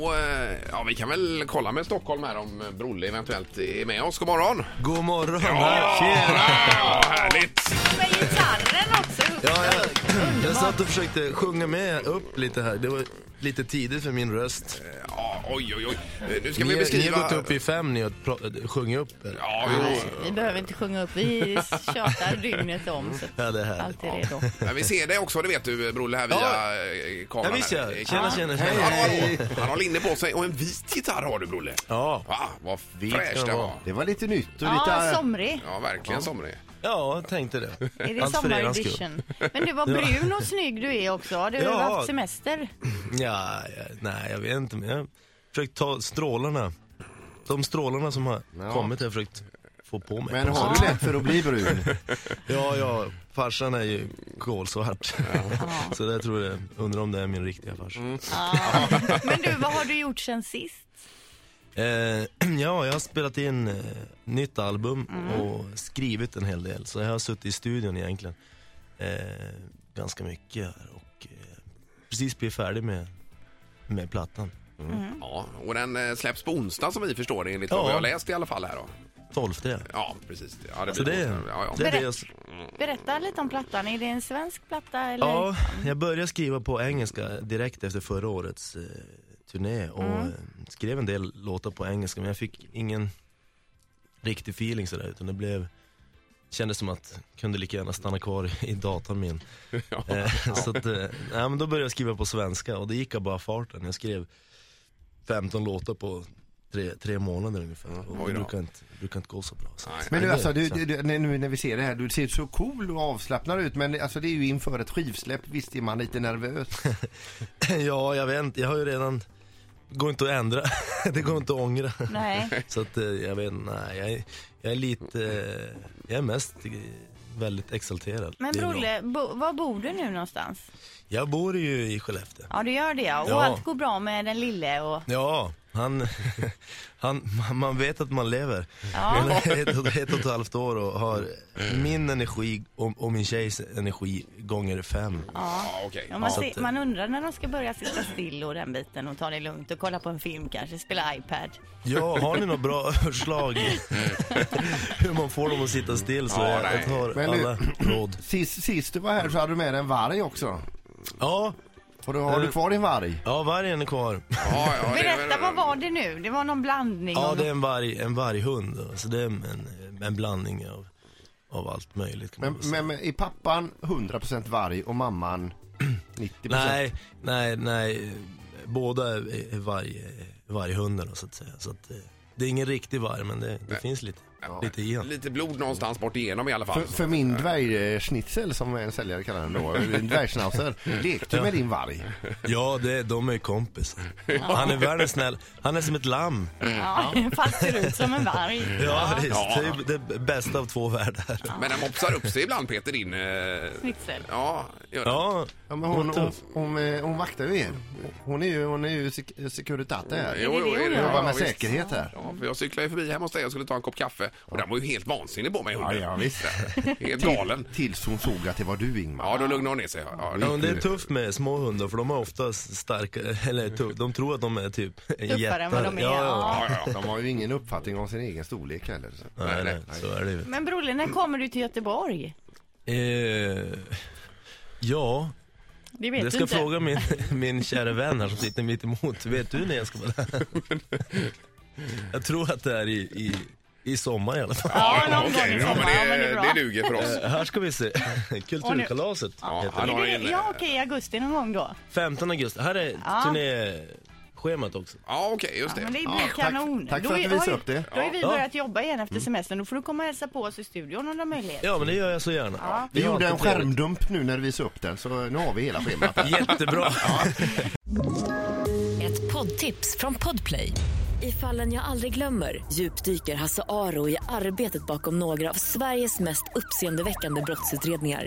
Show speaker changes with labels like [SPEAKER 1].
[SPEAKER 1] Och eh, ja, vi kan väl kolla med Stockholm här om eh, Brolle eventuellt är med oss. God morgon!
[SPEAKER 2] God morgon!
[SPEAKER 1] Tjena!
[SPEAKER 2] Tjena!
[SPEAKER 1] härligt!
[SPEAKER 3] Men gitarren också i högsta
[SPEAKER 2] Ja, jag,
[SPEAKER 3] hugg.
[SPEAKER 2] jag satt och försökte sjunga med upp lite här. Det var lite tidigt för min röst.
[SPEAKER 1] Ja, oj, oj, oj. Eh, Nu ska
[SPEAKER 2] Ni,
[SPEAKER 1] vi
[SPEAKER 2] ni
[SPEAKER 1] beskriva...
[SPEAKER 2] har gått upp i fem, ni har pra- sjungit upp. eller?
[SPEAKER 1] Ja, jo.
[SPEAKER 3] Vi behöver inte sjunga upp, vi tjatar dygnet om. Så
[SPEAKER 2] Ja, det är härligt.
[SPEAKER 3] allt är redo.
[SPEAKER 1] Men vi ser dig också, det vet du Brolle, här via
[SPEAKER 2] Ja.
[SPEAKER 1] eh, kameran.
[SPEAKER 2] Ja, visst
[SPEAKER 1] här.
[SPEAKER 2] ja. Tjena, tjena, tjena.
[SPEAKER 1] Hallå,
[SPEAKER 2] Hej,
[SPEAKER 1] hallå. Han har linne på sig och en vit gitarr har du Brolle.
[SPEAKER 2] Ja.
[SPEAKER 1] Ah, vad
[SPEAKER 2] ska
[SPEAKER 1] fräscht det
[SPEAKER 2] det
[SPEAKER 1] var.
[SPEAKER 2] vara.
[SPEAKER 4] Det var lite nytt och
[SPEAKER 3] Ja,
[SPEAKER 4] lite...
[SPEAKER 3] somrig.
[SPEAKER 1] Ja, verkligen somrig.
[SPEAKER 2] Ja, jag tänkte det.
[SPEAKER 3] Är det
[SPEAKER 2] Allt för er skull.
[SPEAKER 3] sommaredition? Men du var brun och snygg du är också. Har Du
[SPEAKER 2] Ja.
[SPEAKER 3] haft semester.
[SPEAKER 2] Ja, ja, nej, jag vet inte. Men jag har försökt ta strålarna. De strålarna som har kommit har jag försökt få på mig.
[SPEAKER 4] Men har du lätt för att bli brun?
[SPEAKER 2] Ja, ja, farsan är ju kolsvart. Så där tror jag, undrar om det är min riktiga farsa.
[SPEAKER 3] Ja. Men du, vad har du gjort sen sist?
[SPEAKER 2] Eh, ja, jag har spelat in eh, nytt album och skrivit en hel del. Så jag har suttit i studion egentligen eh, ganska mycket här och eh, precis blivit färdig med, med plattan.
[SPEAKER 1] Ja, och den eh, släpps på onsdag som vi förstår det enligt
[SPEAKER 2] Ja.
[SPEAKER 1] vad vi har läst i alla fall här då.
[SPEAKER 2] 12 ja.
[SPEAKER 1] Ja, precis. Ja, det
[SPEAKER 2] Så
[SPEAKER 1] blir
[SPEAKER 2] det,
[SPEAKER 1] onsdag. ja,
[SPEAKER 2] det
[SPEAKER 1] ja.
[SPEAKER 2] är det jag... s-
[SPEAKER 3] Berätta lite om plattan. Är det en svensk platta eller?
[SPEAKER 2] Ja, jag började skriva på engelska direkt efter förra årets eh, turné och eh, skrev en del låtar på engelska men jag fick ingen riktig feeling sådär utan det blev Kändes som att kunde lika gärna stanna kvar i datorn min. Eh, Så att, eh, nej, men då började jag skriva på svenska och det gick av bara farten. Jag skrev 15 låtar på tre, tre månader ungefär. Och
[SPEAKER 1] Oj
[SPEAKER 2] det
[SPEAKER 1] då.
[SPEAKER 2] brukar inte, brukar inte gå så bra. Så. att-
[SPEAKER 4] Men du,
[SPEAKER 2] Nej,
[SPEAKER 4] alltså, du,
[SPEAKER 2] så-
[SPEAKER 4] du, du, när- nu när vi ser det här, du ser så cool och avslappnad ut men alltså, det är ju inför ett skivsläpp, visst är man lite nervös?
[SPEAKER 2] Ja, jag vet inte. Jag har ju redan... går inte att ändra. Det går inte att ångra.
[SPEAKER 3] Nej.
[SPEAKER 2] Så att eh, jag vet inte, nej, jag, är- jag är lite, eh, jag är mest eh, väldigt exalterad.
[SPEAKER 3] Men
[SPEAKER 2] Det är bra.
[SPEAKER 3] Brolle, bo, var bor du nu någonstans?
[SPEAKER 2] Jag bor ju i Skellefteå.
[SPEAKER 3] Ja, du gör det ja. Och
[SPEAKER 2] Ja.
[SPEAKER 3] allt går bra med den lille och...
[SPEAKER 2] Ja, han, han, man vet att man lever.
[SPEAKER 3] Ja.
[SPEAKER 2] Men Ett, och- ett och ett halvt år och har min energi och, och min tjejs energi gånger fem.
[SPEAKER 1] Ja, okej.
[SPEAKER 3] Ja, man,
[SPEAKER 2] Ja.
[SPEAKER 3] ser, man undrar när de ska börja sitta still och den biten och ta det lugnt och kolla på en film kanske, spela iPad.
[SPEAKER 2] Ja, har ni något bra förslag hur man får dem att sitta still så
[SPEAKER 1] Ja,
[SPEAKER 2] jag,
[SPEAKER 1] nej.
[SPEAKER 2] jag tar
[SPEAKER 4] Men nu-
[SPEAKER 2] alla råd.
[SPEAKER 4] Sist, sist du var här så hade du med dig en varg också.
[SPEAKER 2] Ja,
[SPEAKER 4] Har du, har du kvar din varg?
[SPEAKER 2] ja vargen är kvar.
[SPEAKER 1] Ja, ja, det är väl-
[SPEAKER 3] Berätta, vad var det nu? Det var någon blandning
[SPEAKER 2] Ja,
[SPEAKER 3] av
[SPEAKER 2] det är en, varg, en varghund. då. Så det är en, en blandning av, av allt möjligt. Kan man
[SPEAKER 4] Men,
[SPEAKER 2] väl säga.
[SPEAKER 4] men, men är pappan 100% varg och mamman 90%?
[SPEAKER 2] nej, nej, nej. Båda är är varg, varghundar då, så att säga. Så att, eh, det är ingen riktig varg, men det, det finns lite, lite i honom.
[SPEAKER 1] Lite blod någonstans bort igenom i alla fall.
[SPEAKER 4] För, för min dvärgschnitzel som en säljare kallar den då, en dvärgschnauzer, lekte med din varg.
[SPEAKER 2] Ja, det, de är kompisar. Han är världens snäll. Han är som ett lamm.
[SPEAKER 3] Ja, fast ser ut som en varg.
[SPEAKER 2] Ja, visst. Det är ju det bästa av två världar.
[SPEAKER 1] Men den mopsar upp sig ibland Peter, din... eh,
[SPEAKER 3] Snitsel.
[SPEAKER 1] Ja, gör den.
[SPEAKER 2] Ja,
[SPEAKER 4] Ja, men hon, hon,
[SPEAKER 2] tuff.
[SPEAKER 4] hon, eh, hon vaktar ju er. Hon är ju, hon är ju sek- eh, Securitate här.
[SPEAKER 1] Jo, jo,
[SPEAKER 3] det det
[SPEAKER 1] är
[SPEAKER 3] hon
[SPEAKER 1] det-
[SPEAKER 3] gör?
[SPEAKER 4] Jobbar med
[SPEAKER 1] ja, visst.
[SPEAKER 4] säkerhet här.
[SPEAKER 1] Ja, för jag cyklade ju förbi hemma hos dig och skulle ta en kopp kaffe och den var ju helt vansinnig på mig hunden.
[SPEAKER 4] Ja, ja, visst.
[SPEAKER 1] Helt galen.
[SPEAKER 4] Tills hon såg att det var du Ingmar.
[SPEAKER 1] Ja, då lugnade hon ner sig. Ja,
[SPEAKER 2] Ja, men det är tufft med små hundar för de är ofta starka, eller tuff, de tror att de är typ jättar.
[SPEAKER 3] Tuffare än vad de är.
[SPEAKER 2] Ja, ja.
[SPEAKER 1] ja, ja.
[SPEAKER 4] De har ju ingen uppfattning om sin egen storlek heller. Så.
[SPEAKER 2] Nej, nej, så är det ju.
[SPEAKER 3] Men Brolle, när kommer du till Göteborg?
[SPEAKER 2] Eh, ja,
[SPEAKER 3] Det vet
[SPEAKER 2] det
[SPEAKER 3] du
[SPEAKER 2] ska
[SPEAKER 3] inte.
[SPEAKER 2] fråga min, min kära vän här som sitter mitt emot. Vet du när jag ska vara där? Jag tror att det är i, i, i sommar i alla fall.
[SPEAKER 3] Ja, någon gång
[SPEAKER 1] okej.
[SPEAKER 3] i
[SPEAKER 1] Ja,
[SPEAKER 3] sommar.
[SPEAKER 1] men
[SPEAKER 3] Ja, men
[SPEAKER 1] det,
[SPEAKER 3] det är bra.
[SPEAKER 1] det duger för oss.
[SPEAKER 2] Här ska vi se. Kulturkalaset
[SPEAKER 1] Ja,
[SPEAKER 2] heter
[SPEAKER 1] han
[SPEAKER 2] det.
[SPEAKER 1] har
[SPEAKER 3] Det,
[SPEAKER 1] en...
[SPEAKER 3] ja, okej, i augusti någon gång då.
[SPEAKER 2] 15 augusti. Här är
[SPEAKER 3] Ja.
[SPEAKER 2] turnéschemat också.
[SPEAKER 1] Ja, okej, just
[SPEAKER 3] Ja, men det
[SPEAKER 1] det.
[SPEAKER 3] blir kanon.
[SPEAKER 4] tack
[SPEAKER 3] Då
[SPEAKER 4] för att
[SPEAKER 3] är-
[SPEAKER 4] du visade
[SPEAKER 3] har ju-
[SPEAKER 4] upp det.
[SPEAKER 3] Då har vi
[SPEAKER 2] Ja.
[SPEAKER 3] börjat jobba igen efter semestern. Då får du komma och hälsa på oss i studion om du har möjlighet.
[SPEAKER 2] Ja, men det gör jag så gärna.
[SPEAKER 3] Ja.
[SPEAKER 4] Vi
[SPEAKER 2] har
[SPEAKER 4] gjorde en
[SPEAKER 2] alltid trevligt.
[SPEAKER 4] skärmdump nu när vi visade upp den så nu har vi hela schemat.
[SPEAKER 2] Jättebra.
[SPEAKER 5] Ett poddtips från Podplay. I fallen jag aldrig glömmer djupdyker Hasse Aro i arbetet bakom några av Sveriges mest uppseendeväckande brottsutredningar.